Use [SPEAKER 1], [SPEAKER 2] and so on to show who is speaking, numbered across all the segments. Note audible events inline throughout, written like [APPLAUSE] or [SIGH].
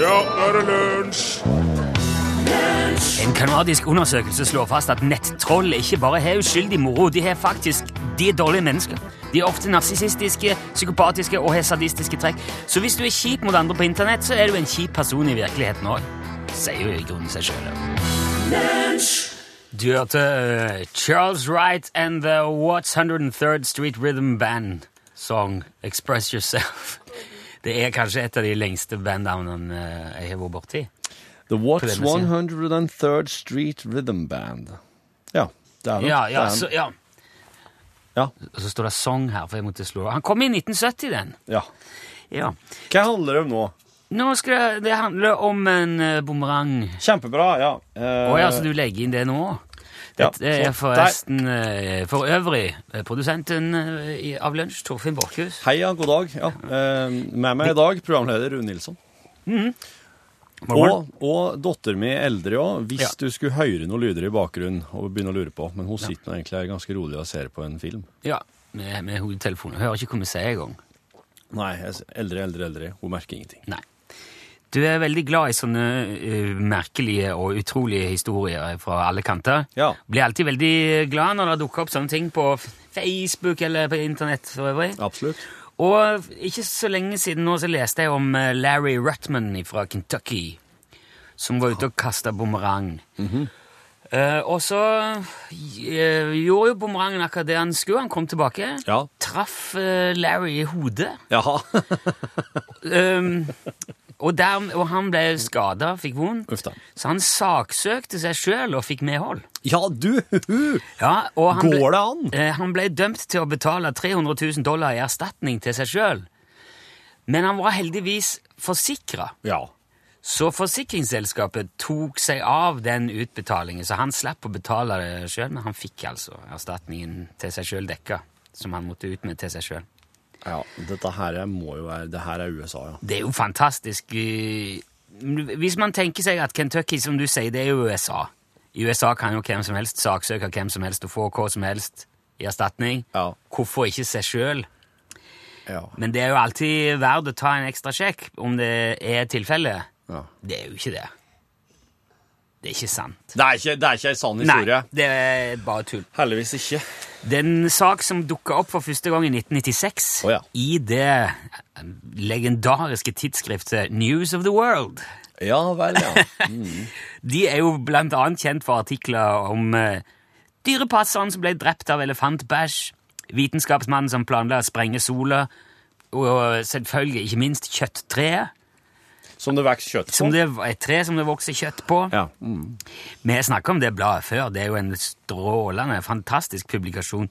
[SPEAKER 1] Ja, nå er det lunsj!
[SPEAKER 2] En kanadisk undersøkelse slår fast at nettroll ikke bare har uskyldig moro, de har faktisk de er dårlige mennesker. De er ofte narsissistiske, psykopatiske og har sadistiske trekk. Så hvis du er kjip mot andre på internett, så er du en kjip person i virkeligheten òg. Sier jo i grunnen seg sjøl. Du hørte eh, Charles Wright and the What's 103rd Street Rhythm Band song Express Yourself. [LAUGHS] Det er kanskje et av de lengste bandnavnene eh, jeg har vært borti.
[SPEAKER 3] The What's
[SPEAKER 2] På denne
[SPEAKER 3] 103rd Street Rhythm Band. Ja, det er den.
[SPEAKER 2] Ja,
[SPEAKER 3] Det er
[SPEAKER 2] ja,
[SPEAKER 3] den.
[SPEAKER 2] så, ja.
[SPEAKER 3] ja,
[SPEAKER 2] Og så står det 'Song' her, for jeg måtte slå Han kom i 1970, den.
[SPEAKER 3] ja.
[SPEAKER 2] Ja.
[SPEAKER 3] Hva handler det om nå?
[SPEAKER 2] Nå skal det, det handle om en eh, bumerang.
[SPEAKER 3] Kjempebra, ja. Eh,
[SPEAKER 2] Å ja, så du legger inn det nå?
[SPEAKER 3] Ja,
[SPEAKER 2] Dette er
[SPEAKER 3] så
[SPEAKER 2] forresten eh, for øvrig eh, produsenten eh, i- av Lunsj, Torfinn Borchhus.
[SPEAKER 3] Heia, god dag. Ja. eh, Med meg i dag, programleder Rune Nilsson.
[SPEAKER 2] Og-
[SPEAKER 3] Og, og datter mi eldre òg, hvis
[SPEAKER 2] Ja.
[SPEAKER 3] du skulle høre noen lyder i bakgrunnen og begynne å lure på. Men hun sitter nå egentlig her ganske rolig og ser på en film.
[SPEAKER 2] Ja, med, med hodetelefonen. Hører ikke hva vi sier engang.
[SPEAKER 3] Nei, jeg, s- eldre, eldre, eldre. Hun merker ingenting.
[SPEAKER 2] Nei. Du er veldig glad i sånne eh, merkelige og utrolige historier fra alle kanter.
[SPEAKER 3] Ja.
[SPEAKER 2] Blir alltid veldig glad når det dukker opp sånne ting på Facebook eller på internett for øvrig.
[SPEAKER 3] Absolutt.
[SPEAKER 2] Og ikke så lenge siden nå så leste jeg om eh, Larry Rutman fra Kentucky, som var ute og kasta bumerang. Eh, og så eh, gjorde jo bumerangen akkurat det han skulle. Han kom tilbake.
[SPEAKER 3] Ja.
[SPEAKER 2] Traff eh, Larry i hodet.
[SPEAKER 3] Jaha. [LAUGHS]
[SPEAKER 2] Um, og, der, og han ble skada, fikk vondt.
[SPEAKER 3] Uff da.
[SPEAKER 2] Så han saksøkte seg sjøl og fikk medhold.
[SPEAKER 3] Ja, du! [LAUGHS] huhu.
[SPEAKER 2] Ja, og han
[SPEAKER 3] Går
[SPEAKER 2] ble,
[SPEAKER 3] det an?
[SPEAKER 2] eh, han ble dømt til å betale 300 000 dollar i erstatning til seg sjøl. Men han var heldigvis forsikra,
[SPEAKER 3] Ja.
[SPEAKER 2] så forsikringsselskapet tok seg av den utbetalingen. Så han slapp å betale det sjøl, men han fikk altså erstatningen til seg sjøl dekka. Som han måtte ut med til seg sjøl.
[SPEAKER 3] ja. Dette her er- må jo være Det her er USA, ja.
[SPEAKER 2] Det er jo fantastisk. eh, Hvis man tenker seg at Kentucky, som du sier, det er jo USA. I USA kan jo hvem som helst saksøke hvem som helst og få hva som helst i erstatning.
[SPEAKER 3] Ja.
[SPEAKER 2] Hvorfor ikke seg sjøl?
[SPEAKER 3] Ja.
[SPEAKER 2] Men det er jo alltid verdt å ta en ekstra sjekk om det er tilfellet.
[SPEAKER 3] ja.
[SPEAKER 2] Det er jo ikke det. Det er ikke sant.
[SPEAKER 3] Det er ikke, det er ikke ei sann
[SPEAKER 2] Nei,
[SPEAKER 3] historie.
[SPEAKER 2] det er bare tull.
[SPEAKER 3] Heldigvis ikke.
[SPEAKER 2] Det er en sak som dukka opp for første gang i 1996
[SPEAKER 3] Å ja.
[SPEAKER 2] i det legendariske tidsskriftet News of the World.
[SPEAKER 3] Ja vel, ja.
[SPEAKER 2] De er jo blant annet kjent for artikler om eh, dyrepasseren som ble drept av elefantbæsj, vitenskapsmannen som planla å sprenge sola, og eh, selvfølgelig ikke minst kjøtttreet,
[SPEAKER 3] Som det vokser kjøtt på.
[SPEAKER 2] som det, et tre som det vokser kjøtt på.
[SPEAKER 3] Ja.
[SPEAKER 2] Vi har snakka om det bladet før. Det er jo en strålende, fantastisk publikasjon.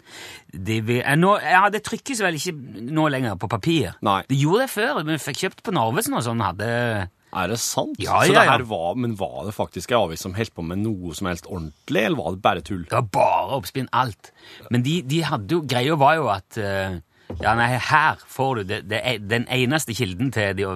[SPEAKER 2] De vil, eh, nå, ja, det trykkes vel ikke nå lenger på papir.
[SPEAKER 3] Nei.
[SPEAKER 2] Det gjorde det før. Vi fikk kjøpt på Narvesen og sånn. hadde...
[SPEAKER 3] Er det sant?
[SPEAKER 2] Ja,
[SPEAKER 3] så
[SPEAKER 2] ja,
[SPEAKER 3] det her
[SPEAKER 2] ja.
[SPEAKER 3] var, men var det faktisk ei avis som holdt på med noe som helst ordentlig, eller var det bare tull?
[SPEAKER 2] Det var bare oppspinn alt. Men de, de hadde jo, greia var jo at eh, Ja, nei, her får du det, det er den eneste kilden til det,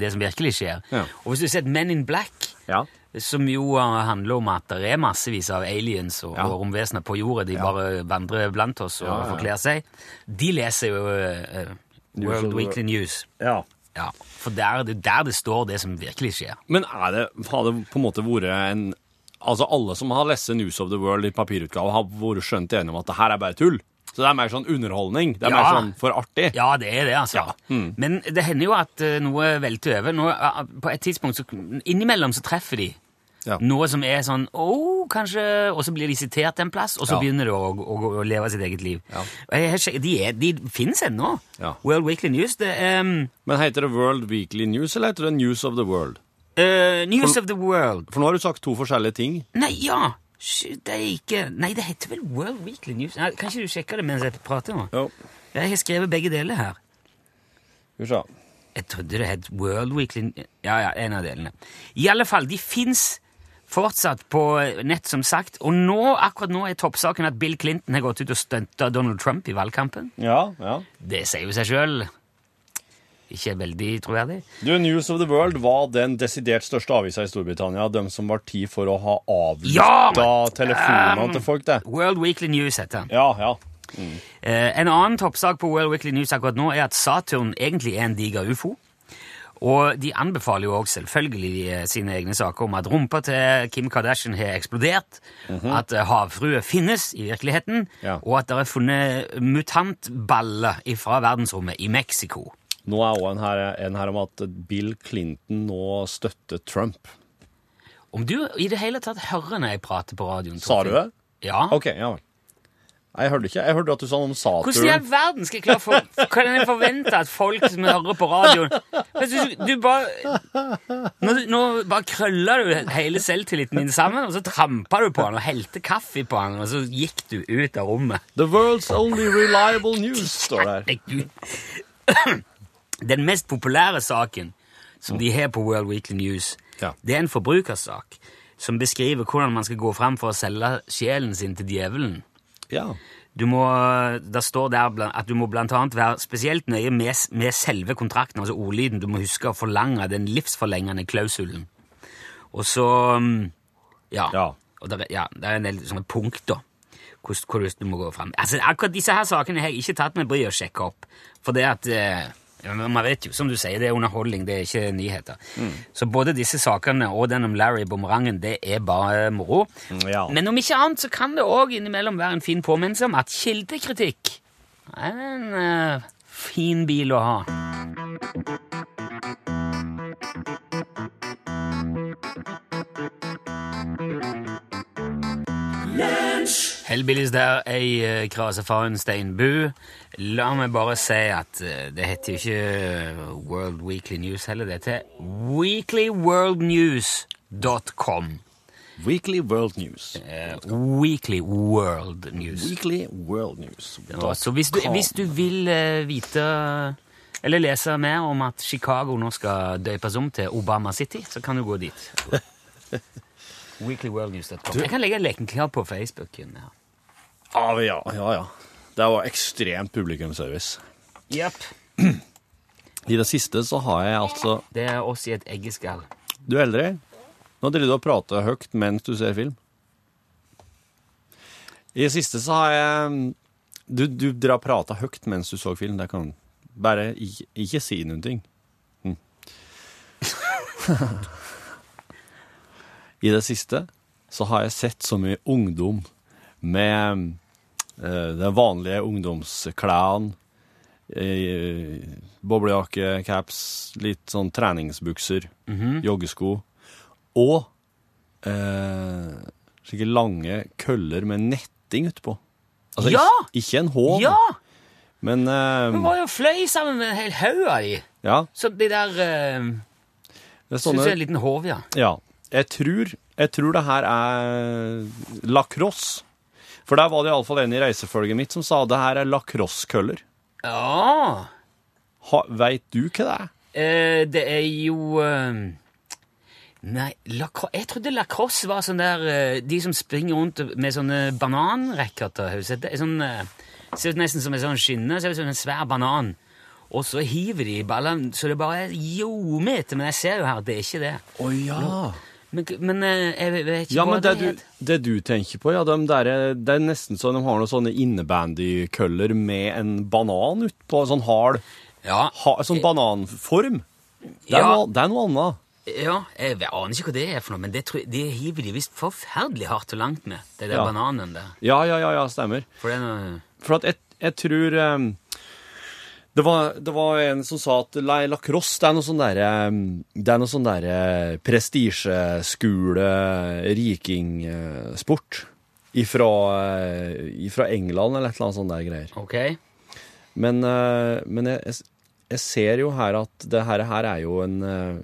[SPEAKER 2] det som virkelig skjer.
[SPEAKER 3] Ja.
[SPEAKER 2] Og hvis du ser et Men in Black,
[SPEAKER 3] Ja.
[SPEAKER 2] som jo eh, handler om at det er massevis av aliens og,
[SPEAKER 3] Ja.
[SPEAKER 2] og romvesener på jorda, de bare vandrer blant oss og
[SPEAKER 3] Ja, ja, ja.
[SPEAKER 2] forkler seg, de leser jo eh, eh,
[SPEAKER 3] of the
[SPEAKER 2] World
[SPEAKER 3] World.
[SPEAKER 2] Weekly News.
[SPEAKER 3] ja.
[SPEAKER 2] Ja, For der, er det der det står det som virkelig skjer.
[SPEAKER 3] Men er det, har det på en måte vært en Altså, alle som har lest News of the World i papirutgave, har vært skjønt enige om at det her er bare tull. Så det er mer sånn underholdning. Det er
[SPEAKER 2] Ja.
[SPEAKER 3] mer sånn for artig.
[SPEAKER 2] Ja, det er det, altså.
[SPEAKER 3] Mm.
[SPEAKER 2] Men det hender jo at eh, noe velter over. Noe, ah, på et tidspunkt så Innimellom så treffer de
[SPEAKER 3] Ja.
[SPEAKER 2] noe som er sånn Å, kanskje Og så blir de sitert en plass, og så
[SPEAKER 3] Ja.
[SPEAKER 2] begynner det å, å, å, å leve sitt eget liv.
[SPEAKER 3] Ja.
[SPEAKER 2] Og jeg har sjekket- De, er- de fins ennå.
[SPEAKER 3] Ja.
[SPEAKER 2] World Weekly News. Det er um,
[SPEAKER 3] Men heter det World Weekly News, eller heter det News of the World?
[SPEAKER 2] eh, News of the World.
[SPEAKER 3] For nå har du sagt to forskjellige ting.
[SPEAKER 2] Nei, ja! Sky- Det er ikke Nei, det heter vel World Weekly News. Nei, kan ikke du sjekke det mens jeg prater nå?
[SPEAKER 3] Jo.
[SPEAKER 2] Jeg har skrevet begge deler her.
[SPEAKER 3] Skal vi se.
[SPEAKER 2] Jeg trodde det het World Weekly Ja, ja, en av delene. I alle fall, de fins fortsatt på eh, nett, som sagt. Og nå, akkurat nå er toppsaken at Bill Clinton har gått ut og stunta Donald Trump i valgkampen.
[SPEAKER 3] Ja, ja.
[SPEAKER 2] Det sier jo seg sjøl. Ikke veldig troverdig.
[SPEAKER 3] Du, News of the World var den desidert største avisa i Storbritannia. De som var tid for å ha avlytta
[SPEAKER 2] Ja, men-
[SPEAKER 3] telefonene til folk, det.
[SPEAKER 2] World Weekly News heter han.
[SPEAKER 3] Ja, ja.
[SPEAKER 2] Eh, en annen toppsak på World Weekly News akkurat nå er at Saturn egentlig er en diger ufo. Og de anbefaler jo også selvfølgelig eh, sine egne saker om at rumpa til Kim Kardashian har eksplodert, at eh, havfrue finnes i virkeligheten,
[SPEAKER 3] Mhm. Ja.
[SPEAKER 2] og at det er funnet mutantballer fra verdensrommet i Mexico.
[SPEAKER 3] Nå er også en her, en her om at Bill Clinton nå støtter Trump.
[SPEAKER 2] Om du i det hele tatt hører når jeg prater på radioen?
[SPEAKER 3] Sa
[SPEAKER 2] Torfinn?
[SPEAKER 3] du det?
[SPEAKER 2] Ja.
[SPEAKER 3] OK, ja vel. Nei, Jeg hørte ikke. Jeg hørte at du sa noe om
[SPEAKER 2] Hvordan i
[SPEAKER 3] Saturn.
[SPEAKER 2] all verden skal jeg klare for, Kan jeg forvente at folk som hører på radioen Vet du, du bare nå, nå bare krøller du hele selvtilliten min sammen, og så trampa du på han og helte kaffe på han, og så gikk du ut av rommet.
[SPEAKER 3] The world's only reliable news, står det her.
[SPEAKER 2] Herregud. Den mest populære saken som de har på World Weekly News,
[SPEAKER 3] Ja.
[SPEAKER 2] det er en forbrukersak som beskriver hvordan man skal gå fram for å selge sjelen sin til djevelen.
[SPEAKER 3] Ja.
[SPEAKER 2] Du må, der står der blant- at du må blant annet være spesielt nøye med, med selve kontrakten, altså ordlyden. Du må huske å forlange den livsforlengende klausulen. Og så mm, Ja.
[SPEAKER 3] Ja.
[SPEAKER 2] Og der, er- ja, der er en del sånne punkter hvordan, hvordan du må gå fram. Altså, akkurat disse her sakene har jeg ikke tatt meg bryet å sjekke opp. For det at eh, ja, men Man vet jo, som du sier, det er underholdning, det er ikke nyheter. Så både disse sakene og den om Larry Bumerangen, det er bare moro.
[SPEAKER 3] ja.
[SPEAKER 2] Men om ikke annet så kan det òg innimellom være en fin påminnelse om at kildekritikk er en eh, fin bil å ha. Hellbillies der, ei eh, krasefaren Steinbu. La meg bare si at eh, det heter jo ikke eh, World Weekly News heller, det heter weeklyworldnews.com.
[SPEAKER 3] Weekly World News.
[SPEAKER 2] Eh, Weekly World News.
[SPEAKER 3] Weekly World News.
[SPEAKER 2] Da, Så hvis du, hvis du vil eh, vite eller lese mer om at Chicago nå skal døpes om til Obama City, så kan du gå dit. Weeklyworldnews.com. Jeg kan legge leken klar på Facebooken. Ja.
[SPEAKER 3] Ja, Ah, ja, ja, ja. Det var ekstremt publikumsservice.
[SPEAKER 2] Japp.
[SPEAKER 3] I det siste så har jeg altså
[SPEAKER 2] Det er oss i et eggeskall.
[SPEAKER 3] Du er eldre. Nå driver du og prater høyt mens du ser film. I det siste så har jeg Du, du drar og prater høyt mens du så film. Det kan Bare ikke, ikke si noen ting. Mm. [LAUGHS] I det siste så har jeg sett så mye ungdom med eh, den vanlige ungdomsklærne. eh, Boblejakke, caps, litt sånn treningsbukser, joggesko. Og eh, slike lange køller med netting utpå. Altså
[SPEAKER 2] Ja!
[SPEAKER 3] ikke, ikke en håv,
[SPEAKER 2] Ja!
[SPEAKER 3] men eh,
[SPEAKER 2] Hun var jo fløy sammen med en hel haug av de.
[SPEAKER 3] ja,
[SPEAKER 2] Så de der uh,
[SPEAKER 3] det er
[SPEAKER 2] Syns jeg
[SPEAKER 3] sånne
[SPEAKER 2] er en liten hov, ja.
[SPEAKER 3] Ja. Jeg tror, jeg tror det her er lacrosse. For der var det iallfall en i reisefølget mitt som sa det her er lacrosse-køller.
[SPEAKER 2] Ja.
[SPEAKER 3] Ha- Veit du hva det er?
[SPEAKER 2] Eh, det er jo eh, Nei, lacrosse Jeg trodde lacrosse var sånn der eh, De som springer rundt med sånne bananracketer. har du sett det? Sånn, eh, ser ut nesten som en sånn skinne. Ser ut som en svær banan. Og så hiver de i ballene, så det bare er jometer. Men jeg ser jo her at det er ikke det.
[SPEAKER 3] Å ja.
[SPEAKER 2] Men, men eh, jeg vet- vet ikke
[SPEAKER 3] Ja,
[SPEAKER 2] hva
[SPEAKER 3] men det
[SPEAKER 2] det
[SPEAKER 3] du,
[SPEAKER 2] heter.
[SPEAKER 3] det du tenker på, ja, de der, det er nesten så de har noen sånne innebandykøller med en banan utpå, sånn hard,
[SPEAKER 2] Ja,
[SPEAKER 3] ha, sånn bananform. Det er,
[SPEAKER 2] Eh, Ja.
[SPEAKER 3] noe, det er noe annet.
[SPEAKER 2] ja, jeg vet- aner ikke hva det er for noe, men det, tror jeg- det hiver de visst forferdelig hardt og langt med, det der
[SPEAKER 3] Ja.
[SPEAKER 2] bananen der.
[SPEAKER 3] Ja, ja, ja, ja, stemmer.
[SPEAKER 2] For det er noe...
[SPEAKER 3] For at jeg, jeg tror ehm, det, var, det var en som sa at la- lacrosse, det er noe sånn derre ehm, Det er noe sånn derre prestisjeskule-rikingsport. eh, Ifra, eh, ifra England eller et eller annet sånt der greier.
[SPEAKER 2] Ok.
[SPEAKER 3] Men, eh, men jeg, jeg s- jeg ser jo her at det her, her er jo en eh,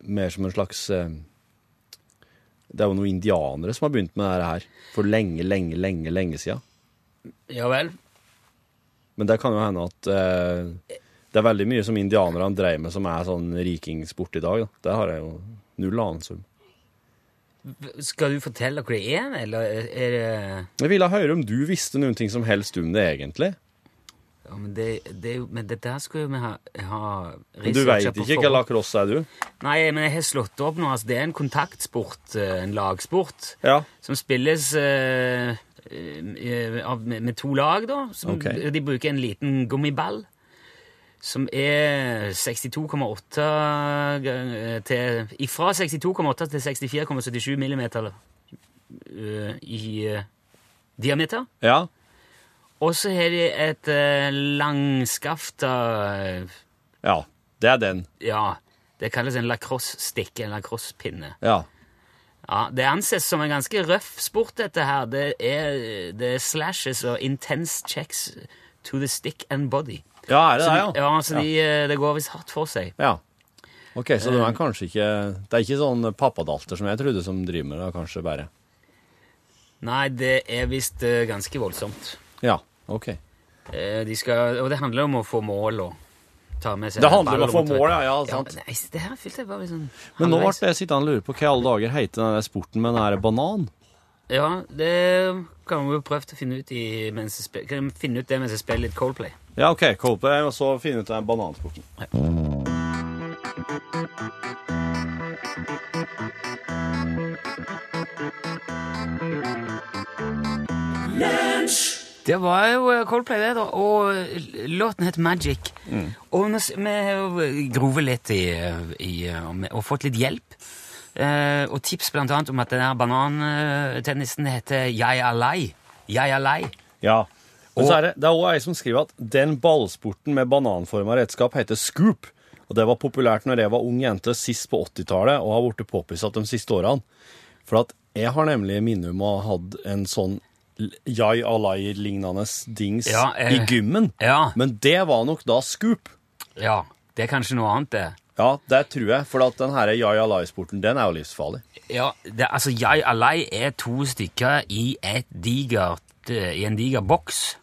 [SPEAKER 3] Mer som en slags eh, Det er jo noen indianere som har begynt med det her for lenge, lenge, lenge, lenge siden.
[SPEAKER 2] Ja vel.
[SPEAKER 3] Men det kan jo hende at eh, det er veldig mye som indianerne dreier med som er sånn rikingsport i dag. Da. Det har jeg jo null anelse om.
[SPEAKER 2] Skal du fortelle hva det er, eller er det
[SPEAKER 3] Jeg ville høre om du visste noen ting som helst om det egentlig.
[SPEAKER 2] Ja, men, det, det er jo, men dette her skulle jo vi ha, ha
[SPEAKER 3] Men du veit
[SPEAKER 2] researcha på
[SPEAKER 3] ikke hva
[SPEAKER 2] forhånd.
[SPEAKER 3] lacrosse er, du?
[SPEAKER 2] Nei, men jeg har slått opp nå. Altså, det er en kontaktsport, eh, en lagsport,
[SPEAKER 3] Ja.
[SPEAKER 2] som spilles eh, eh, av, med, med to lag, da. Som,
[SPEAKER 3] Ok.
[SPEAKER 2] De bruker en liten gummiball. som er 62,8 gang- eh, til Ifra 62,8 til 64,77 millimeter eh, i eh, diameter.
[SPEAKER 3] Ja.
[SPEAKER 2] Og så har de et uh, langskafta
[SPEAKER 3] Ja. Det er den.
[SPEAKER 2] eh, Ja, det kalles en lacrosse-stikk, en lacrosse-pinne.
[SPEAKER 3] Ja.
[SPEAKER 2] Ja, det anses som en ganske røff sport, dette her. Det er, det er slashes og intense checks to the stick and body.
[SPEAKER 3] Ja, er det
[SPEAKER 2] Så
[SPEAKER 3] det,
[SPEAKER 2] de- ja, så de, eh, det går visst hardt for seg.
[SPEAKER 3] Ja. Ok, så det er kanskje ikke Det er ikke sånn pappadalter som jeg trodde som driver med det, kanskje bare.
[SPEAKER 2] Nei, det er visst eh, ganske voldsomt.
[SPEAKER 3] Ja, ok.
[SPEAKER 2] Eh, De skal, og det handler om å få mål og ta med seg
[SPEAKER 3] Det handler om
[SPEAKER 2] ball
[SPEAKER 3] å få
[SPEAKER 2] og motor-
[SPEAKER 3] mål, ja, ja, sant.
[SPEAKER 2] men nei, det her fylte jeg bare litt sånn
[SPEAKER 3] Men nå ble
[SPEAKER 2] halvveis.
[SPEAKER 3] jeg sittende og lure på hva i alle dager heter den der sporten med den der banan?
[SPEAKER 2] Ja, det kan vi jo prøve å finne ut, i, mens jeg spil, kan vi finne ut det mens jeg spiller litt Coldplay.
[SPEAKER 3] Ja, ok, Coldplay, og så finne ut den banansporten.
[SPEAKER 2] Det var jo eh, Coldplay, det, da. Og eh, låten het Magic. Og nå s- vi har jo grovet litt i, eh, i eh, om- Og fått litt hjelp. Eh, og tips blant annet om at den der banantennisen heter Jeg er lei. Jeg er lei.
[SPEAKER 3] Ja. Men så er det, det er også ei som skriver at den ballsporten med bananforma redskap heter scoop. Og det var populært når jeg var ung jente sist på 80-tallet, og har blitt påpusset de siste årene. For at jeg har nemlig minne om å ha hatt en sånn l- Jai Alai-lignende dings
[SPEAKER 2] Ja, eh,
[SPEAKER 3] i gymmen.
[SPEAKER 2] ja.
[SPEAKER 3] Men det var nok da scoop.
[SPEAKER 2] Ja, det er kanskje noe annet, det.
[SPEAKER 3] Ja, det tror jeg. For at den her Jai Alai-sporten, den er jo livsfarlig.
[SPEAKER 2] Ja, det, altså Jeg alai er to stykker i, et digert, eh, i en diger boks,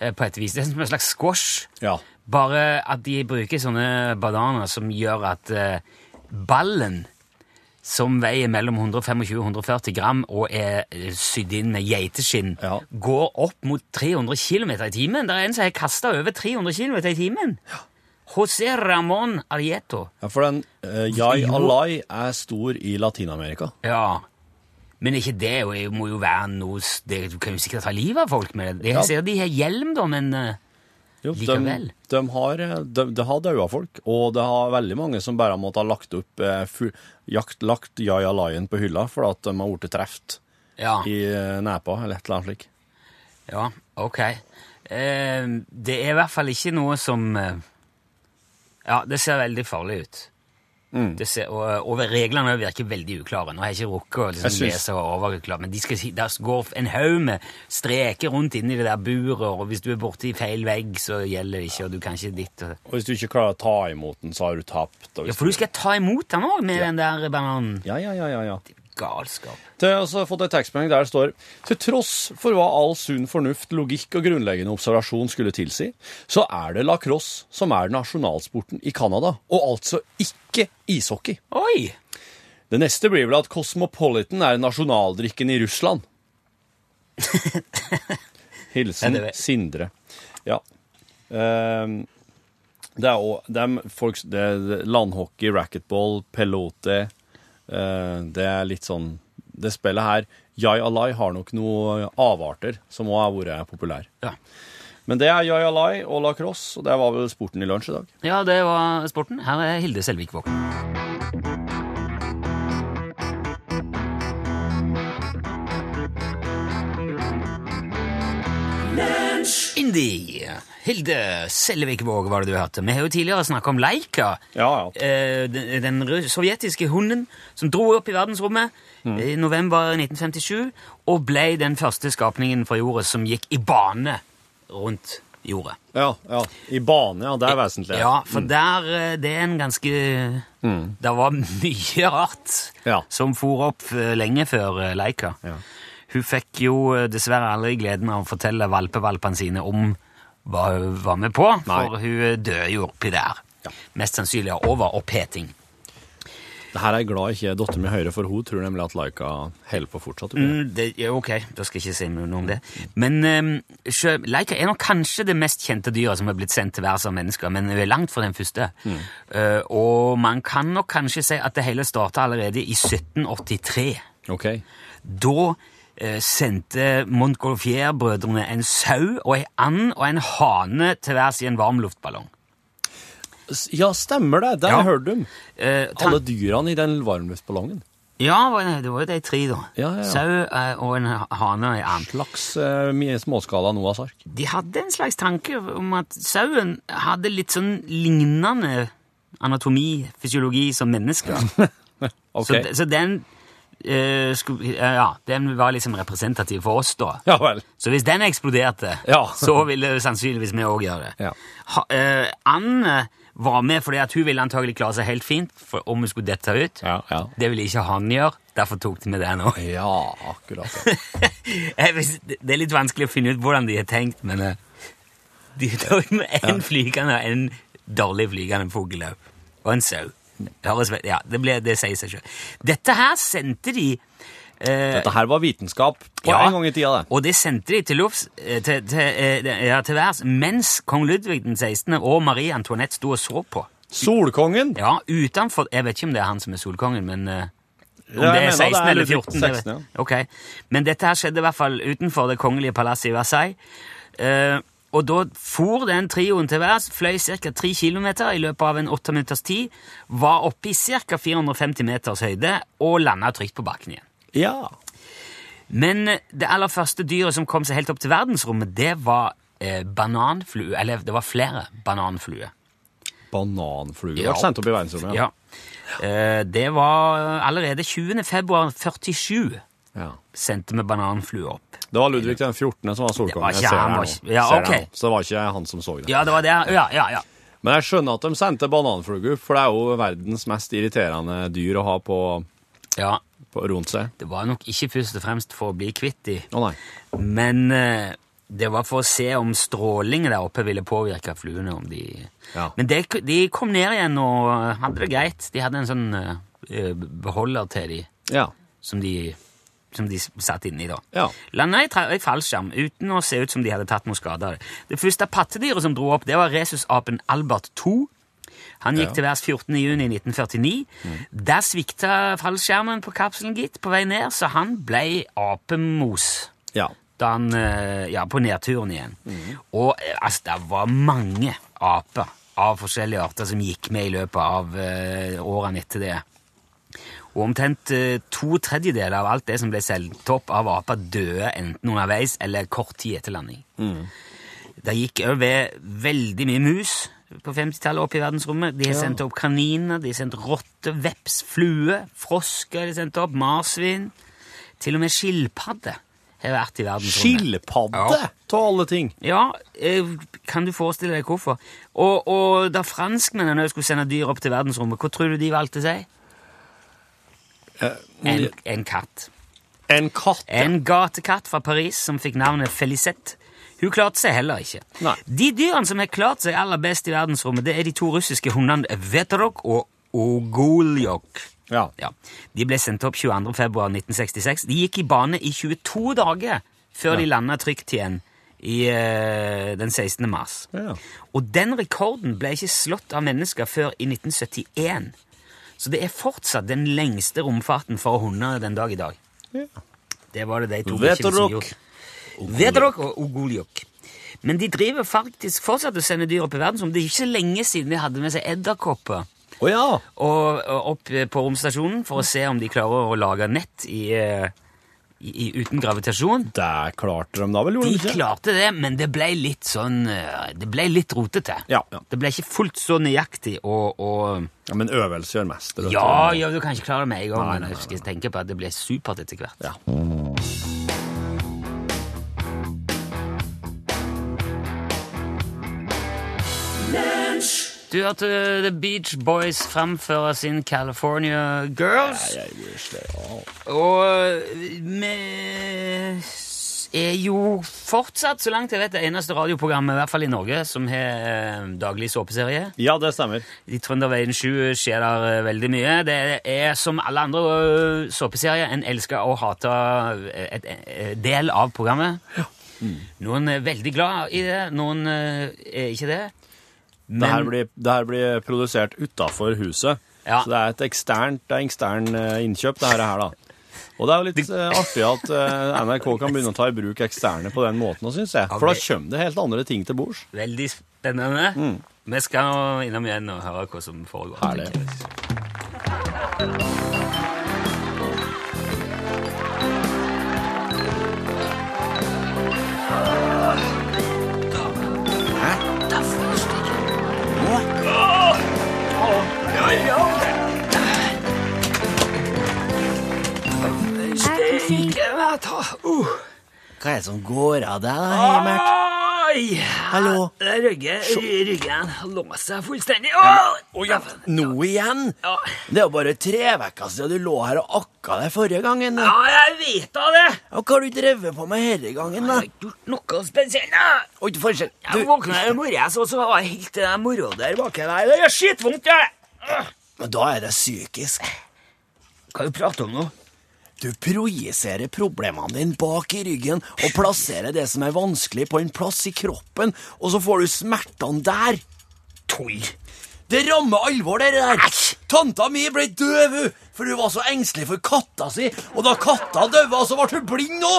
[SPEAKER 2] eh, på et vis. Det er som en slags squash,
[SPEAKER 3] Ja.
[SPEAKER 2] bare at de bruker sånne bananer som gjør at eh, ballen, som veier mellom 125 og 140 gram og er eh, sydd inn med geiteskinn,
[SPEAKER 3] Ja.
[SPEAKER 2] går opp mot 300 km i timen. Det er en som har kasta over 300 km i timen! José Ramón Arieto.
[SPEAKER 3] ja for den eh, Jai
[SPEAKER 2] Jo.
[SPEAKER 3] Alai er stor i Latin-Amerika.
[SPEAKER 2] Ja. Men ikke det og det må jo være noe s- det, Du kan jo sikkert ta livet av folk med det. Jeg
[SPEAKER 3] Ja.
[SPEAKER 2] ser de har hjelm, da, men eh,
[SPEAKER 3] Jo,
[SPEAKER 2] Likevel.
[SPEAKER 3] De, de har, eh, de, de har daua folk, og det har veldig mange som bare har måttet ha lagt opp eh, fu- jakt, lagt Yaya Lion på hylla fordi at de har blitt truffet
[SPEAKER 2] ja.
[SPEAKER 3] i eh, nepa eller et eller annet slik.
[SPEAKER 2] ja. Ok. Eh, det er i hvert fall ikke noe som eh, Ja, det ser veldig farlig ut.
[SPEAKER 3] Mm.
[SPEAKER 2] Det ser, og, eh, og reglene virker veldig uklare. Nå har jeg ikke rukket å liksom,
[SPEAKER 3] Jeg syns-
[SPEAKER 2] lese og overklare, men de skal, si- der går en haug med streker rundt inni det der buret, og hvis du er borti feil vegg, så gjelder det ikke, og du kan ikke ditt og
[SPEAKER 3] Og hvis du ikke klarer å ta imot den, så har du tapt. og
[SPEAKER 2] Ja,
[SPEAKER 3] hvis
[SPEAKER 2] for du skal ta imot den òg, med den der bananen.
[SPEAKER 3] Ja, ja, ja, ja, ja.
[SPEAKER 2] Galskap.
[SPEAKER 3] Det har jeg også fått en tekstmelding der det står Til tross for hva all sunn fornuft, logikk og grunnleggende observasjon skulle tilsi, så er det lacrosse som er nasjonalsporten i Canada, og altså ikke ishockey.
[SPEAKER 2] Oi!
[SPEAKER 3] Det neste blir vel at Cosmopolitan er nasjonaldrikken i Russland. Hilsen
[SPEAKER 2] Ja, det vet-
[SPEAKER 3] Sindre. Ja. Ehm, det er òg det er folk, det er Landhockey, racquetball, pelote eh, Det er litt sånn Det spillet her Jai Alai har nok noen avarter som òg har vært populær.
[SPEAKER 2] Ja.
[SPEAKER 3] Men det er Jai Alai og lacrosse, og det var vel sporten i lunsj i dag.
[SPEAKER 2] ja, det var sporten. Her er Hilde Selvik Våken. Indie. Hilde Selvik Våg var det du hørte. Vi har jo tidligere snakka om Leika.
[SPEAKER 3] Ja, ja.
[SPEAKER 2] eh, den, den ru- sovjetiske hunden som dro opp i verdensrommet eh, i november 1957 og ble den første skapningen fra jorda som gikk i bane rundt jorda.
[SPEAKER 3] ja, ja. I bane, ja. Det er vesentlig. Mm.
[SPEAKER 2] Ja, for der eh, det er en ganske Det var [LAUGHS] mye rart
[SPEAKER 3] Ja.
[SPEAKER 2] som for opp eh, lenge før eh, Leika.
[SPEAKER 3] Ja.
[SPEAKER 2] Hun fikk jo eh, dessverre aldri gleden av å fortelle valpevalpene sine om hva hun var med på,
[SPEAKER 3] Nei.
[SPEAKER 2] for hun eh, døde jo oppi der.
[SPEAKER 3] Ja.
[SPEAKER 2] Mest sannsynlig av overoppheting.
[SPEAKER 3] Det her er jeg glad ikke datteren min hører, for hun tror nemlig at Laika holder på fortsatt. tror jeg.
[SPEAKER 2] Mm, det, ja, ok, da skal jeg ikke si noe om det. Men eh, sjø- Leica er nok kanskje det mest kjente dyret som er blitt sendt til værs av mennesker, men vi er langt fra den første.
[SPEAKER 3] Mm.
[SPEAKER 2] Eh, og man kan nok kanskje si at det hele starta allerede i 1783.
[SPEAKER 3] Ok.
[SPEAKER 2] Da eh, sendte Montgolfier-brødrene en sau og en and og en hane til værs i en varmluftballong.
[SPEAKER 3] S- Ja, stemmer det. Der
[SPEAKER 2] Ja.
[SPEAKER 3] hørte du dem.
[SPEAKER 2] Eh, tan-
[SPEAKER 3] Alle dyrene i den varmluftballongen.
[SPEAKER 2] Ja, var det det var jo de tre, da.
[SPEAKER 3] Ja, ja, ja.
[SPEAKER 2] Sau eh, og en ha- hane og en and.
[SPEAKER 3] Laks eh, med småskala Noahs ark.
[SPEAKER 2] De hadde en slags tanke om at sauen hadde litt sånn lignende anatomi, fysiologi, som mennesker.
[SPEAKER 3] Ok.
[SPEAKER 2] Så, de- så den eh, skulle, eh, ja, den var liksom representativ for oss, da.
[SPEAKER 3] Ja vel.
[SPEAKER 2] Så hvis den eksploderte,
[SPEAKER 3] Ja.
[SPEAKER 2] så ville sannsynligvis vi òg gjøre det.
[SPEAKER 3] Ja.
[SPEAKER 2] Ha, eh, Anne var med fordi at hun ville antagelig klare seg helt fint for, om hun skulle dette ut.
[SPEAKER 3] Ja, ja.
[SPEAKER 2] Det ville ikke han gjøre, derfor tok de med den òg.
[SPEAKER 3] Ja, akkurat. ja.
[SPEAKER 2] Jeg vis- Eh, Det er litt vanskelig å finne ut hvordan de har tenkt, men eh, de [LAUGHS] tok med en flygende og en dårlig flygende fugl også. og en sau. Høres vel- Ja, det, ble, det sier seg selv. Dette her sendte de eh,
[SPEAKER 3] [LAUGHS] Dette her var vitenskap på
[SPEAKER 2] Ja.
[SPEAKER 3] en gang i tida, det.
[SPEAKER 2] Og det sendte de til lufts, eh, til, til, eh, ja, til værs, mens kong Ludvig den 16. og Marie Antoinette sto og så på.
[SPEAKER 3] Solkongen!
[SPEAKER 2] Ja, utenfor, Jeg vet ikke om det er han som er solkongen, men eh, om
[SPEAKER 3] Ja, jeg
[SPEAKER 2] det er
[SPEAKER 3] mener
[SPEAKER 2] 16 eller
[SPEAKER 3] Ludvig
[SPEAKER 2] 14. det vet-
[SPEAKER 3] 16, ja.
[SPEAKER 2] Ok, Men dette her skjedde i hvert fall utenfor det kongelige palasset i Versailles. Eh, og da for den trioen til værs, fløy ca. 3 km i løpet av en åtte minutters tid, var oppe i ca. 450 meters høyde og landa trygt på bakken igjen.
[SPEAKER 3] Ja.
[SPEAKER 2] Men eh, det aller første dyret som kom seg helt opp til verdensrommet, det var eh, bananflue. Eller det var flere bananfluer.
[SPEAKER 3] Bananflue
[SPEAKER 2] Ja.
[SPEAKER 3] ble sendt opp i verdensrommet.
[SPEAKER 2] Ja. Eh, det var allerede 20. februar 47
[SPEAKER 3] Ja.
[SPEAKER 2] sendte vi bananflue opp.
[SPEAKER 3] Det var Ludvig den 14. som var altså.
[SPEAKER 2] Det
[SPEAKER 3] solkongen.
[SPEAKER 2] var ikke
[SPEAKER 3] Jeg ser
[SPEAKER 2] han,
[SPEAKER 3] det
[SPEAKER 2] var
[SPEAKER 3] her
[SPEAKER 2] ikke-
[SPEAKER 3] nå.
[SPEAKER 2] ja,
[SPEAKER 3] Ser det
[SPEAKER 2] ok.
[SPEAKER 3] her nå. Så det var ikke han som så det.
[SPEAKER 2] Ja, det var det. Ja, ja, ja.
[SPEAKER 3] Men jeg skjønner at de sendte bananfluger, for det er jo verdens mest irriterende dyr å ha på,
[SPEAKER 2] ja.
[SPEAKER 3] på rundt seg.
[SPEAKER 2] Det var nok ikke først og fremst for å bli kvitt de,
[SPEAKER 3] Å nei.
[SPEAKER 2] men eh, det var for å se om stråling der oppe ville påvirke fluene. om de...
[SPEAKER 3] Ja.
[SPEAKER 2] Men de, de kom ned igjen og hadde det greit. De hadde en sånn eh, beholder til de.
[SPEAKER 3] Ja.
[SPEAKER 2] som de, som de s- satt inne i da.
[SPEAKER 3] Ja.
[SPEAKER 2] Landa i, tra- i fallskjerm uten å se ut som de hadde tatt noe skade av det. Det første pattedyret som dro opp, det var rhesusapen Albert 2. Han gikk
[SPEAKER 3] Ja. Mm.
[SPEAKER 2] til værs 14. juni 1949. Der svikta fallskjermen på kapselen, gitt, på vei ned, så han ble apemos
[SPEAKER 3] ja.
[SPEAKER 2] da han, eh, ja, på nedturen igjen.
[SPEAKER 3] Mm.
[SPEAKER 2] Og eh, altså, det var mange aper av forskjellige arter som gikk med i løpet av eh, årene etter det. Og omtrent eh, to tredjedeler av alt det som ble solgt opp av aper, døde enten underveis eller kort tid etter landing. Det gikk òg ved veldig mye mus på 50-tallet opp i verdensrommet. De har sendt opp kaniner, de har sendt rotte, veps, flue, frosker har de sendt opp, marsvin. Til og med skilpadde har vært i verdensrommet.
[SPEAKER 3] Skilpadde, av alle ting!
[SPEAKER 2] Ja, eh, kan du forestille deg hvorfor? Og, og da franskmennene også skulle sende dyr opp til verdensrommet, hva tror du de valgte seg?
[SPEAKER 3] Mm.
[SPEAKER 2] En, en katt.
[SPEAKER 3] Eh, En katt.
[SPEAKER 2] En gatekatt fra Paris som fikk navnet Felicette. Hun klarte seg heller ikke.
[SPEAKER 3] Nei.
[SPEAKER 2] De dyrene som har klart seg aller best i verdensrommet, det er de to russiske hundene Veterok og Ogoljok.
[SPEAKER 3] Ja.
[SPEAKER 2] Ja. De ble sendt opp 22. februar 1966. De gikk i bane i 22 dager før de landa trygt igjen i, eh, den 16. mars.
[SPEAKER 3] Ja.
[SPEAKER 2] Og den rekorden ble ikke slått av mennesker før i 1971. Så det er fortsatt den lengste romfarten for hunder den dag i dag. Det var det de to
[SPEAKER 3] Vet
[SPEAKER 2] bikkjene
[SPEAKER 3] dere?
[SPEAKER 2] som gjorde. Vet dere og Ogoljok. Men de driver faktisk fortsatt å sende dyr opp i verdensrommet. Det er ikke så lenge siden de hadde med seg edderkopper
[SPEAKER 3] Å ja!
[SPEAKER 2] og, og opp eh, på romstasjonen for å se om de klarer å lage nett i, eh, i, i, uten gravitasjon.
[SPEAKER 3] Det klarte de da vel, gjorde
[SPEAKER 2] De
[SPEAKER 3] de ikke?
[SPEAKER 2] klarte det, men det ble litt sånn eh, Det ble litt rotete.
[SPEAKER 3] Ja, ja.
[SPEAKER 2] Det ble ikke fullt så nøyaktig og, og
[SPEAKER 3] Ja, men øvelse gjør mester. vet du.
[SPEAKER 2] ja, ja, du kan ikke klare det med en gang,
[SPEAKER 3] Nei,
[SPEAKER 2] men
[SPEAKER 3] nei,
[SPEAKER 2] jeg skal tenke på at det ble supert etter hvert.
[SPEAKER 3] Ja.
[SPEAKER 2] Du hørte The Beach Boys framføre sin California Girls.
[SPEAKER 3] I wish they all-
[SPEAKER 2] Og eh, vi er jo fortsatt, så langt jeg vet, det eneste radioprogrammet, i hvert fall i Norge, som har eh, daglig såpeserie.
[SPEAKER 3] Ja, det stemmer.
[SPEAKER 2] I Trønderveien 7 skjer det eh, veldig mye. Det er som alle andre eh, såpeserier en elsker og hater eh, et, eh, del av programmet. Noen er veldig glad i det, noen eh, er ikke det.
[SPEAKER 3] Det her blir, det her blir produsert utafor huset.
[SPEAKER 2] Ja.
[SPEAKER 3] Så det er et eksternt det er ekstern eh, innkjøp, det her, er her da. Og det er jo litt eh, artig at eh, NRK kan begynne å ta i bruk eksterne på den måten, syns jeg. For da
[SPEAKER 2] det-
[SPEAKER 3] kommer det helt andre ting til bords.
[SPEAKER 2] Veldig spennende. Vi skal nå innom igjen og høre hva som foregår.
[SPEAKER 4] Herlig.
[SPEAKER 2] tenker jeg.
[SPEAKER 3] Hva er det som går av deg, da, Heimert?
[SPEAKER 2] Oi!
[SPEAKER 3] Hallo?
[SPEAKER 2] Ryggen, ryggen låser seg fullstendig. Åh!
[SPEAKER 3] Nå igjen?
[SPEAKER 2] Ja.
[SPEAKER 3] Det er jo bare tre uker siden du lå her og akka deg forrige gangen.
[SPEAKER 2] ja,
[SPEAKER 3] da.
[SPEAKER 2] jeg vet da det!
[SPEAKER 3] Og hva har du drevet på med denne gangen, da?
[SPEAKER 2] Jeg har ikke gjort noe spesielt. da.
[SPEAKER 3] Oi, forskjell.
[SPEAKER 2] Jeg
[SPEAKER 3] Du,
[SPEAKER 2] våkna i morges, og så var jeg helt til den moroa der baki der. Det gjør skitvondt, jeg!
[SPEAKER 3] men da er det psykisk.
[SPEAKER 2] Hva er det du prater om nå?
[SPEAKER 3] Du projiserer problemene dine bak i ryggen og plasserer det som er vanskelig, på en plass i kroppen, og så får du smertene der.
[SPEAKER 2] Tull.
[SPEAKER 3] Det rammer alvor, det der. Tanta mi ble døv, hun, for hun var så engstelig for katta si. Og da katta døde, så ble hun blind nå.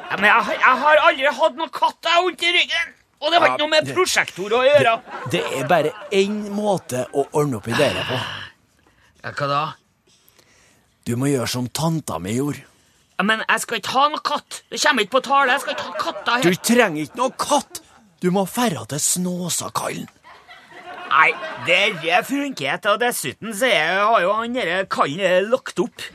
[SPEAKER 2] Ja, men jeg, har- jeg har aldri hatt noen katt jeg har vondt i ryggen. Og det har ikke noe med prosjektor å gjøre.
[SPEAKER 3] Det er bare én måte å ordne opp i dere på.
[SPEAKER 2] Ja, hva da?
[SPEAKER 3] Du må gjøre som tanta mi gjorde.
[SPEAKER 2] Ja, men jeg skal ikke ha noen katt. Det kommer ikke på tale. Jeg skal ikke ha katter
[SPEAKER 3] Du
[SPEAKER 2] her.
[SPEAKER 3] trenger ikke noe katt. Du må ferda til Snåsakallen.
[SPEAKER 2] Nei, det funker ikke. Og dessuten så er- har jo han derre kallen eh, lagt opp.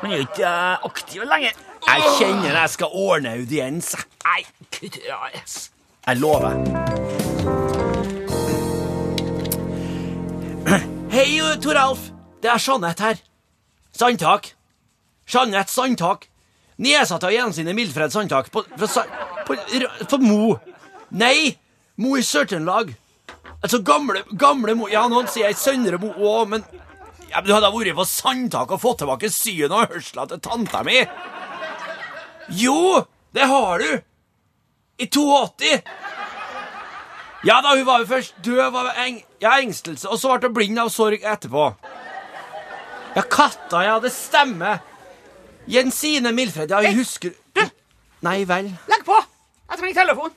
[SPEAKER 2] Han er jo ikke eh, aktiv lenger.
[SPEAKER 3] Jeg kjenner jeg skal ordne audiens. jeg.
[SPEAKER 2] Nei, kutt ja, yes.
[SPEAKER 3] Jeg lover. Hei, Toralf. Det er Jeanette her. Sandtak. Jeanette Sandtak. Nedsatt av gjensine Mildfred Sandtak på, fra, Sa- på, r- på Mo. Nei, Mo i Sør-Trøndelag. Altså gamle, gamle Mo. Ja, noen sier jeg Søndre Mo òg, men ja, men Du hadde vært på Sandtak og fått tilbake synet og hørselen til tanta mi. Jo, det har du. I 82! Ja da, hun var jo først døv av eng ja, engstelse, og så ble hun blind av sorg etterpå. Ja, katta, ja, det stemmer. Jensine Milfred, ja, jeg husker Nei vel.
[SPEAKER 2] Legg på! Jeg trenger telefon.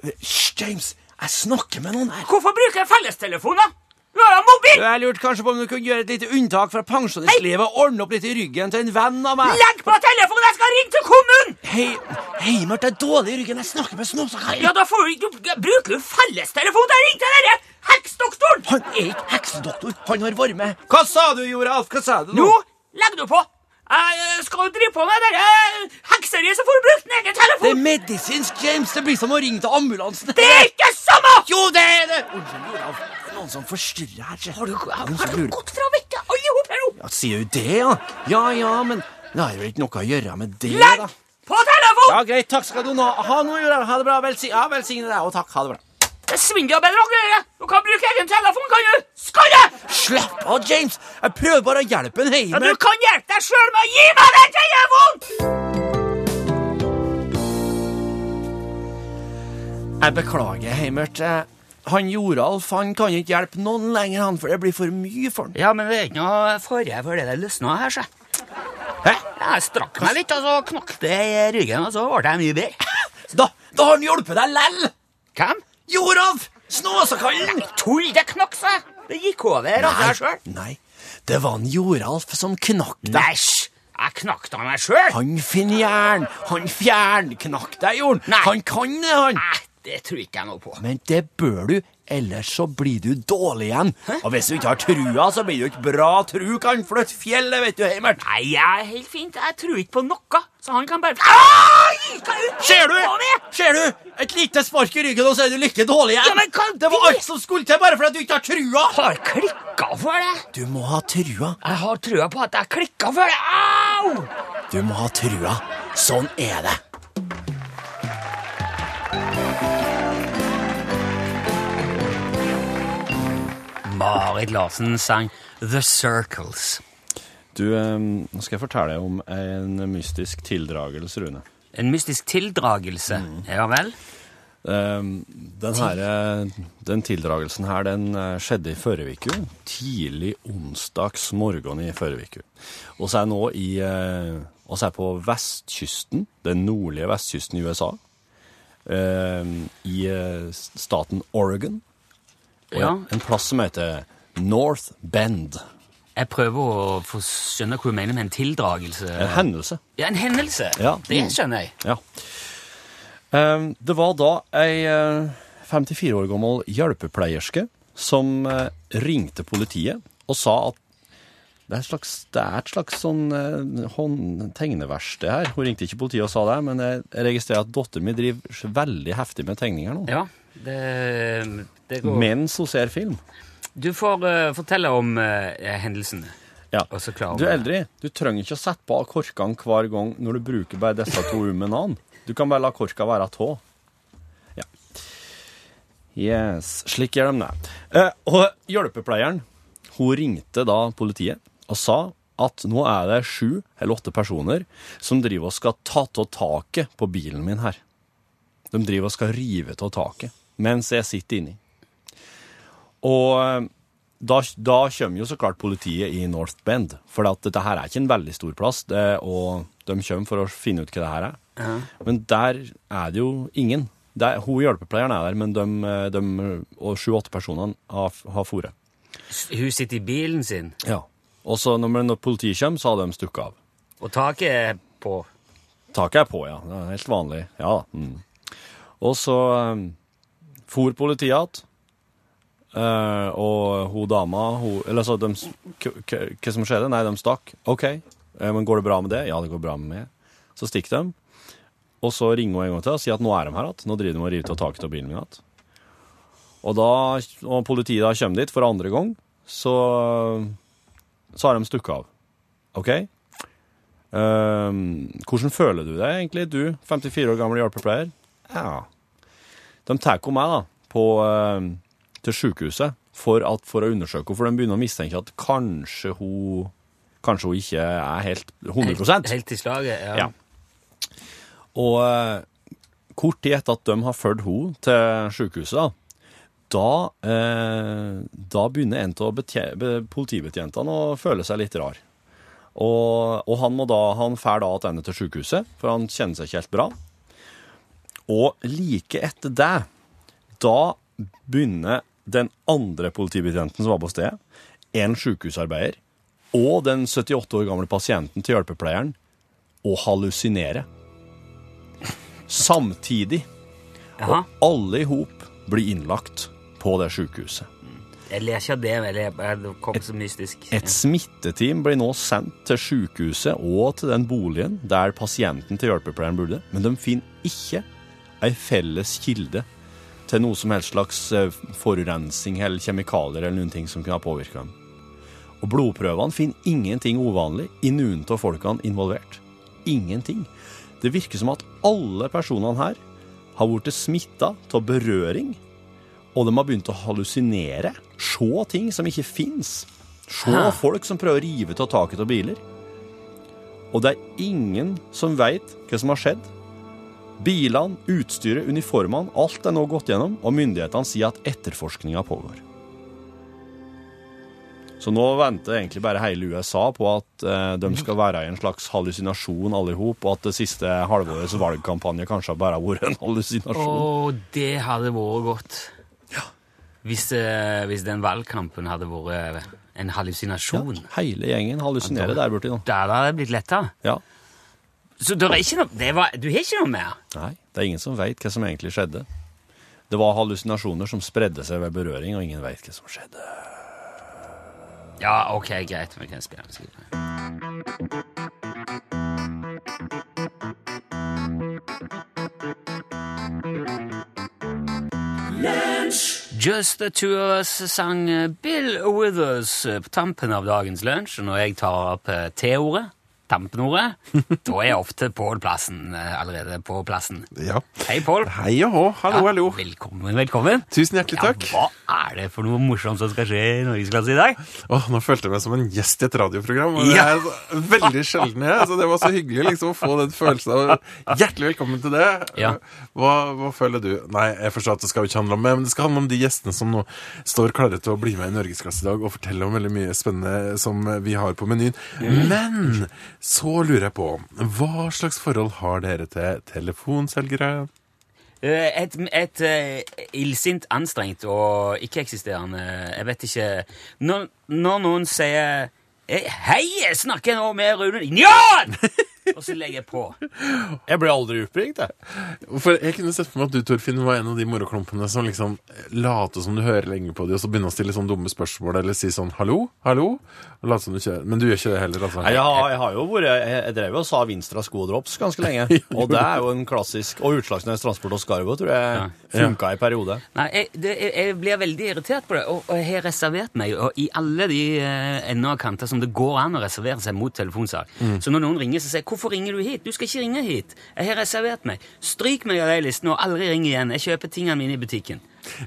[SPEAKER 3] Hysj, James, jeg snakker med noen her.
[SPEAKER 2] Hvorfor bruker jeg fellestelefon, da? Du har jo mobil!
[SPEAKER 3] Du, Jeg lurte kanskje på om du kunne gjøre et lite unntak fra pensjonistlivet og ordne opp litt i ryggen til en venn av meg.
[SPEAKER 2] Legg på telefonen! Jeg skal ringe til kommunen!
[SPEAKER 3] Hei, hei, Mart, det er dårlig i ryggen. Jeg snakker med Snåsakai.
[SPEAKER 2] Ja, da får du ikke du- Bruker du fellestelefon? Jeg ringte dere heksdoktoren!
[SPEAKER 3] Han er ikke heksedoktor. Han har vært med. Hva sa du, Joralf? Hva sa du
[SPEAKER 2] Nå legger du på! Jeg eh, skal jo drive på med dette hekseriet, så får du bruke din egen
[SPEAKER 3] Det er
[SPEAKER 2] telefon!
[SPEAKER 3] medisinsk, James. Det blir som å ringe til ambulansen.
[SPEAKER 2] Det er ikke det samme!
[SPEAKER 3] Jo, det er det! Unnskyld, Olav. Det er noen som forstyrrer her. se.
[SPEAKER 2] Har du,
[SPEAKER 3] Det er noen
[SPEAKER 2] har
[SPEAKER 3] som
[SPEAKER 2] du
[SPEAKER 3] lurer.
[SPEAKER 2] gått fra vettet, alle hop her nå?
[SPEAKER 3] Ja, sier du det, ja? Ja, ja, men det har jo ikke noe å gjøre med det,
[SPEAKER 2] Legg
[SPEAKER 3] da.
[SPEAKER 2] på telefonen!
[SPEAKER 3] Ja, greit. Takk skal du nå ha. nå, Olav. Ha det bra. Velsi ja, velsigne deg, og takk. Ha det bra.
[SPEAKER 2] Det svinger bedre å gjøre! Du kan bruke egen telefon, kan du? Skalle!
[SPEAKER 3] Slapp av, James. Jeg prøver bare å hjelpe en
[SPEAKER 2] Ja, du
[SPEAKER 3] heimer.
[SPEAKER 2] kan hjelpe deg sjøl med å gi meg den telefonen!
[SPEAKER 3] Jeg beklager, Heimert. Eh, Han Joralf han kan ikke hjelpe noen lenger, han, for det blir for mye for han.
[SPEAKER 2] Ja, men det er ikke noe fare for det der løsna her, sjø.
[SPEAKER 3] Hæ?
[SPEAKER 2] Jeg strakk meg litt, og så knakk det i ryggen, og så ble jeg mye bedre.
[SPEAKER 3] Da, da har han hjulpet deg lell!
[SPEAKER 2] Hvem?
[SPEAKER 3] Joralf! Snåsakallen!
[SPEAKER 2] Tull, det knakk seg! Det gikk over av seg sjøl.
[SPEAKER 3] Nei, det var en Joralf som knakk deg.
[SPEAKER 2] Æsj! Jeg knakk da meg sjøl!
[SPEAKER 3] Han finner jern, han fjernknakk deg, Jorden.
[SPEAKER 2] Nei.
[SPEAKER 3] Han kan det, han.
[SPEAKER 2] Nei, det tror ikke jeg noe på.
[SPEAKER 3] Men det bør du, ellers så blir du dårlig igjen. Og hvis du ikke har trua, så blir du ikke bra. Tru kan flytte fjellet, vet du, Heimert.
[SPEAKER 2] Nei, jeg er helt fint. Jeg tror ikke på noe. Så han kan bare Ai! Hva er det
[SPEAKER 3] Ser du?
[SPEAKER 2] på med?
[SPEAKER 3] Ser du? Et lite spark i ryggen, og så er du like dårlig igjen.
[SPEAKER 2] Ja, men hva-
[SPEAKER 3] Det var alt som skulle til, bare fordi du ikke har trua.
[SPEAKER 2] Har klikka for det.
[SPEAKER 3] Du må ha trua.
[SPEAKER 2] Jeg har trua på at jeg klikka for det. Au!
[SPEAKER 3] Du må ha trua. Sånn er det.
[SPEAKER 2] Marit Larsen sang The Circles.
[SPEAKER 4] Du, eh, nå skal jeg fortelle deg om en mystisk tildragelse, Rune.
[SPEAKER 2] En mystisk tildragelse. Ja vel?
[SPEAKER 4] Eh, Den, her, eh, den tildragelsen her den eh, skjedde i forrige uke. Tidlig onsdags morgen i forrige uke. Og så er jeg nå i eh, Og så er jeg på vestkysten, den nordlige Ehm, vestkysten i USA. eh, I eh, staten Oregon.
[SPEAKER 2] Ja.
[SPEAKER 3] En plass som heter North Bend.
[SPEAKER 2] Jeg prøver å få skjønne hva du mener med en tildragelse.
[SPEAKER 3] En hendelse.
[SPEAKER 2] Ja, en hendelse.
[SPEAKER 3] Ja.
[SPEAKER 2] Det skjønner jeg.
[SPEAKER 3] Ja. Ehm, det var da ei eh, 54 år gammel hjelpepleierske som eh, ringte politiet og sa at det er, et slags, det er et slags sånn eh, hånd- tegneverksted her. Hun ringte ikke politiet og sa det, men jeg jeg registrerer at datteren min driver veldig heftig med tegninger nå.
[SPEAKER 2] Ja, det, det går.
[SPEAKER 3] Mens hun ser film.
[SPEAKER 2] Du får eh, fortelle om eh, hendelsene.
[SPEAKER 3] Ja.
[SPEAKER 2] Og så klarer
[SPEAKER 3] Du
[SPEAKER 2] man
[SPEAKER 3] er
[SPEAKER 2] det.
[SPEAKER 3] eldre. Du trenger ikke å sette på korkene hver gang når du bruker bare disse to umennene. Du kan bare la korka være tå. Ja. Yes. Slik gjør de det. Eh, og hjelpepleieren hun ringte da politiet og sa at nå er det sju eller åtte personer som driver og skal ta av taket på bilen min her. De driver og skal rive av taket mens jeg sitter inni. Og eh, da, da kommer jo så klart politiet i North Bend, for at dette her er ikke en veldig stor plass, det, og de kommer for å finne ut hva det her er. Men der er det jo ingen. Der, hun hjelpepleieren er der, men de, de og sju-åtte personene har, har fôret.
[SPEAKER 2] Hun sitter i bilen sin,
[SPEAKER 3] Ja. Og så når, når politiet kommer, så har de stukket av.
[SPEAKER 2] og taket er på.
[SPEAKER 3] Taket er på, ja. Det er helt vanlig. Ja. da. Mm. Og så um, for politiet igjen. og hun dama hun, Eller så de, s- k k Hva som skjedde? Nei, de stakk. OK. Eh, men går det bra med det? Ja, det går bra med meg. Så stikker de. Og så ringer hun en gang til og sier at nå er de her igjen. Nå driver de og river av taket av bilen min igjen. Og da og politiet da kommer dit for andre gang, så, så har de stukket av. OK? Ehm, hvordan føler du deg egentlig, du 54 år gamle hjelpepleier? Ja. De tar jo meg da, på, ehm, til sykehuset for, at, for å undersøke henne, for de begynner å mistenke at kanskje hun, kanskje hun ikke er helt 100
[SPEAKER 2] Helt, helt i slaget. Ja.
[SPEAKER 3] Ja. og eh, kort tid etter at de har fulgt henne til sykehuset, da, da, eh, da begynner en av betje- be- politibetjentene å føle seg litt rar. Og, og han må da, han fær da tilbake til sykehuset, for han kjenner seg ikke helt bra. Og like etter det, da begynner den andre politibetjenten som var på stedet, en sykehusarbeider, og den 78 år gamle pasienten til hjelpepleieren, å hallusinere. Samtidig.
[SPEAKER 2] Jaha.
[SPEAKER 3] Alle i hop blir innlagt på det sykehuset.
[SPEAKER 2] Jeg ler ikke av det, men jeg jeg- det kom så mystisk.
[SPEAKER 3] Et smitteteam blir nå sendt til sykehuset og til den boligen der pasienten til hjelpepleieren bodde, men de finner ikke ei felles kilde til noe som helst slags eh, forurensning eller kjemikalier eller noen ting som kunne ha påvirka dem. Og blodprøvene finner ingenting uvanlig i noen av folkene involvert. Ingenting. Det virker som at alle personene her har blitt smitta av berøring, og de har begynt å hallusinere, se ting som ikke fins. Se folk som prøver å rive av taket av biler. Og det er ingen som veit hva som har skjedd. Bilene, utstyret, uniformene, alt er nå gått gjennom, og myndighetene sier at etterforskninga pågår. Så nå venter egentlig bare hele USA på at eh, de skal være i en slags hallusinasjon alle i hop, og at det siste halvårets valgkampanje kanskje har bare vært en hallusinasjon.
[SPEAKER 2] Og det hadde vært godt. Hvis, eh, hvis den valgkampen hadde vært eh, en hallusinasjon.
[SPEAKER 3] Hele gjengen hallusinerer der borti nå.
[SPEAKER 2] Da hadde det blitt lettere.
[SPEAKER 3] Ja.
[SPEAKER 2] Så det er ikke noe, det var, du har ikke noe mer?
[SPEAKER 3] Nei, det er ingen som veit hva som egentlig skjedde. Det var hallusinasjoner som spredde seg ved berøring, og ingen veit hva som skjedde.
[SPEAKER 2] Ja, ok, greit. Vi kan spille musikk. Just the two of us sang eh, Bill Withers eh, på tampen av dagens lunsj. og Når jeg tar opp eh, T-ordet,
[SPEAKER 5] [LAUGHS]
[SPEAKER 2] tampenordet, da er jeg ofte på plassen eh, allerede på plassen.
[SPEAKER 5] Ja.
[SPEAKER 2] Hei, Pål.
[SPEAKER 5] Hei og hå. Hallo, hallo.
[SPEAKER 2] Velkommen, velkommen.
[SPEAKER 5] Tusen hjertelig
[SPEAKER 2] Ja,
[SPEAKER 5] takk.
[SPEAKER 2] hva er det for noe morsomt som skal skje i Norgesklasse i dag?
[SPEAKER 5] Åh, nå følte jeg meg som en gjest i et radioprogram. og Det
[SPEAKER 2] Ja.
[SPEAKER 5] er så- veldig sjelden jeg, så det var så hyggelig liksom, å få den følelsen av Hjertelig velkommen til det.
[SPEAKER 2] Ja.
[SPEAKER 5] Hva, hva føler du? Nei, jeg forstår at det skal jo ikke handle om meg, men det skal handle om de gjestene som nå står klare til å bli med i Norgesklasse i dag og fortelle om veldig mye spennende som vi har på menyen.
[SPEAKER 2] Mm.
[SPEAKER 5] Men så lurer jeg på, hva slags forhold har dere til telefonselgere?
[SPEAKER 2] Eh, Et, et eh, illsint, anstrengt og ikke-eksisterende Jeg vet ikke Når, når noen sier eh, 'Hei, jeg snakker nå med Rune' Njan! Og så legger jeg på.
[SPEAKER 3] Jeg ble aldri oppringt, jeg.
[SPEAKER 5] For jeg kunne sett for meg at du, Torfinn, var en av de moroklumpene som liksom later som du hører lenge på de, og så begynner å stille sånne dumme spørsmål, eller si sånn 'hallo, hallo', og late som du ikke Men du gjør ikke det heller, altså?
[SPEAKER 3] Nei, jeg, har, jeg har jo vært Jeg, jeg drev jo og sa Vinstra sko og drops ganske lenge. Og det er [LAUGHS] jo en klassisk Og Utslagsnes Transport og Skargo tror jeg funka i periode.
[SPEAKER 2] Nei, jeg, det, jeg, jeg blir veldig irritert på det, og, og jeg har reservert meg og i alle de eh, ender og kanter som det går an å reservere seg mot telefonsalg. Så når noen ringer, så sier jeg 'Hvorfor ringer du hit? Du skal ikke ringe hit.' Jeg har reservert meg. Stryk meg av de listene og aldri ring igjen. Jeg kjøper tingene mine i butikken.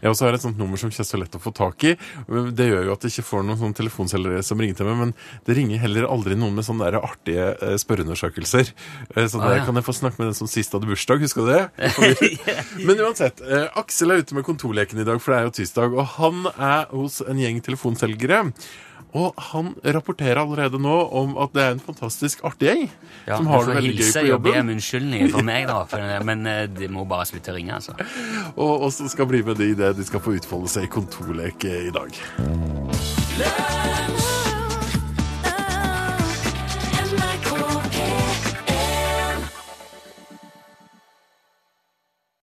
[SPEAKER 5] Jeg også har et sånt nummer som ikke er så lett å få tak i. Det gjør jo at jeg ikke får noen sånne telefonselgere som ringer til meg, men det ringer heller aldri noen med sånne der artige eh, spørreundersøkelser. Eh, Sånn
[SPEAKER 2] Ah,
[SPEAKER 5] der,
[SPEAKER 2] ja.
[SPEAKER 5] Kan jeg få snakke med den som sist hadde bursdag, husker
[SPEAKER 2] [LAUGHS]
[SPEAKER 5] du det? men uansett, eh, Aksel er ute med kontorleken i dag, for det er jo tirsdag, og han er hos en gjeng telefonselgere. Og han rapporterer allerede nå om at det er en fantastisk artig gjeng
[SPEAKER 2] Ja,
[SPEAKER 5] som
[SPEAKER 2] du
[SPEAKER 5] har
[SPEAKER 2] får
[SPEAKER 5] det veldig gøy
[SPEAKER 2] hilse
[SPEAKER 5] på
[SPEAKER 2] og be om
[SPEAKER 5] jobben,
[SPEAKER 2] unnskyldninger for meg, da. For, men eh, de må bare slutte å ringe, altså.
[SPEAKER 5] og også skal bli med de i det de skal få utfolde seg i kontorlek eh, i dag.
[SPEAKER 1] lunsj!